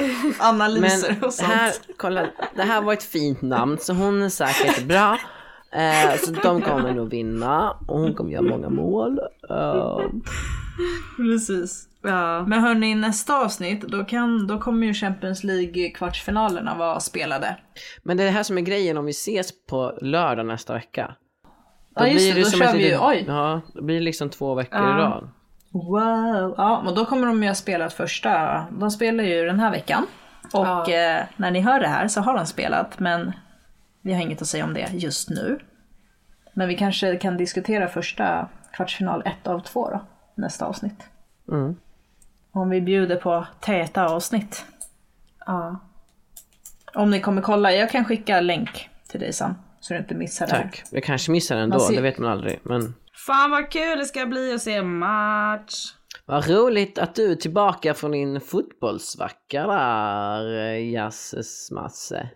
S6: analyser
S7: Men
S6: och sånt.
S7: här, kolla, det här var ett fint namn så hon är säkert bra. Eh, så de kommer nog vinna och hon kommer göra många mål. Eh,
S6: Precis.
S8: Ja.
S6: Men hörni, nästa avsnitt då, kan, då kommer ju Champions League-kvartsfinalerna vara spelade.
S7: men det är det här som är grejen om vi ses på lördag nästa vecka.
S6: Ja just det, då
S7: ett
S6: kör vi ju,
S7: litet-
S6: oj!
S7: Ja, då blir det liksom två veckor i rad.
S6: Wow! Ja, men då kommer de ju ha spelat första, de spelar ju den här veckan. Och eh, när ni hör det här så har de spelat, men vi har inget att säga om det just nu. Men vi kanske kan diskutera första kvartsfinal 1 av 2 då, nästa avsnitt.
S8: Mm.
S6: Om vi bjuder på täta avsnitt.
S8: Ja.
S6: Om ni kommer kolla, jag kan skicka länk till dig Sam, så du inte missar det här.
S7: Tack. Jag kanske missar den ändå,
S6: Man ser-
S7: det vet man aldrig. Men
S8: Fan vad kul det ska bli att se en match.
S7: vad roligt att du är tillbaka från din fotbollsvacka där, eh, Jasses Masse.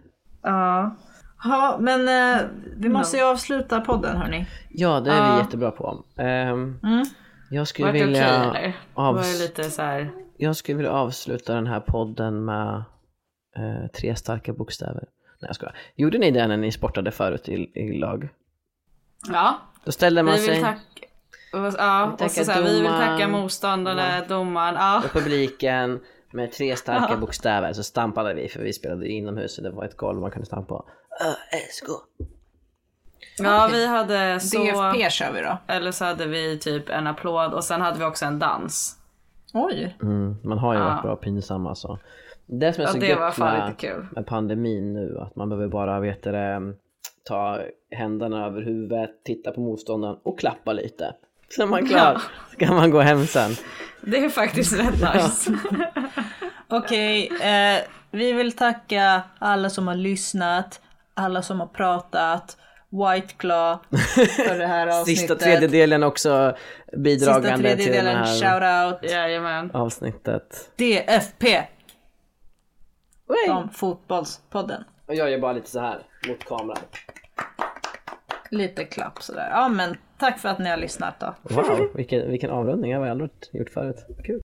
S8: Ja.
S6: Ja, men eh, vi måste ju avsluta podden hörni.
S7: Ja, det är vi jättebra på. Ehm,
S6: Mm.
S7: Jag skulle
S8: Vart det okej
S7: vilja...
S8: eller? Var det
S7: eh, avs-
S8: lite så här.
S7: Jag skulle vilja avsluta den här podden med eh, tre starka bokstäver. Nej jag skojar. Gjorde ni det när ni sportade förut i, i lag?
S8: Ja,
S7: Då ställde man
S8: vi vill
S7: sig...
S8: tacka... Ja, och
S7: tackar
S8: så så här, vi vill
S7: domaren.
S8: tacka motståndare, domaren. Ja.
S7: Och publiken med tre starka bokstäver så stampade vi för vi spelade ju inomhus så det var ett golv man kunde stampa på. ÖSK.
S8: ja, vi hade så...
S6: DFP kör vi då.
S8: Eller så hade vi typ en applåd och sen hade vi också en dans.
S6: Oj.
S7: Mm, man har ju varit
S8: Ja.
S7: bra pinsam alltså. Det som är
S8: Ja,
S7: så
S8: det var
S7: gött
S8: fan
S7: med,
S8: lite kul.
S7: med pandemin nu att man behöver bara vet du, det, ta händerna över huvudet, titta på motståndaren och klappa lite. Sen är man klar. Ska man gå hem sen.
S8: Det är faktiskt rätt nice.
S6: Okej, eh, vi vill tacka alla som har lyssnat, alla som har pratat, White Claw för det här avsnittet.
S7: Sista tredjedelen också
S6: Sista
S7: bidragande till det
S6: tredjedelen,
S7: här
S6: shoutout.
S8: Jajamän.
S7: avsnittet.
S6: DFP! Om Fotbollspodden.
S7: Och jag gör bara lite så här mot kameran.
S6: Lite klapp sådär. Ja men tack för att ni har lyssnat då.
S7: Wow, vilken, vilken avrundning. Jag har aldrig gjort förut. Kul.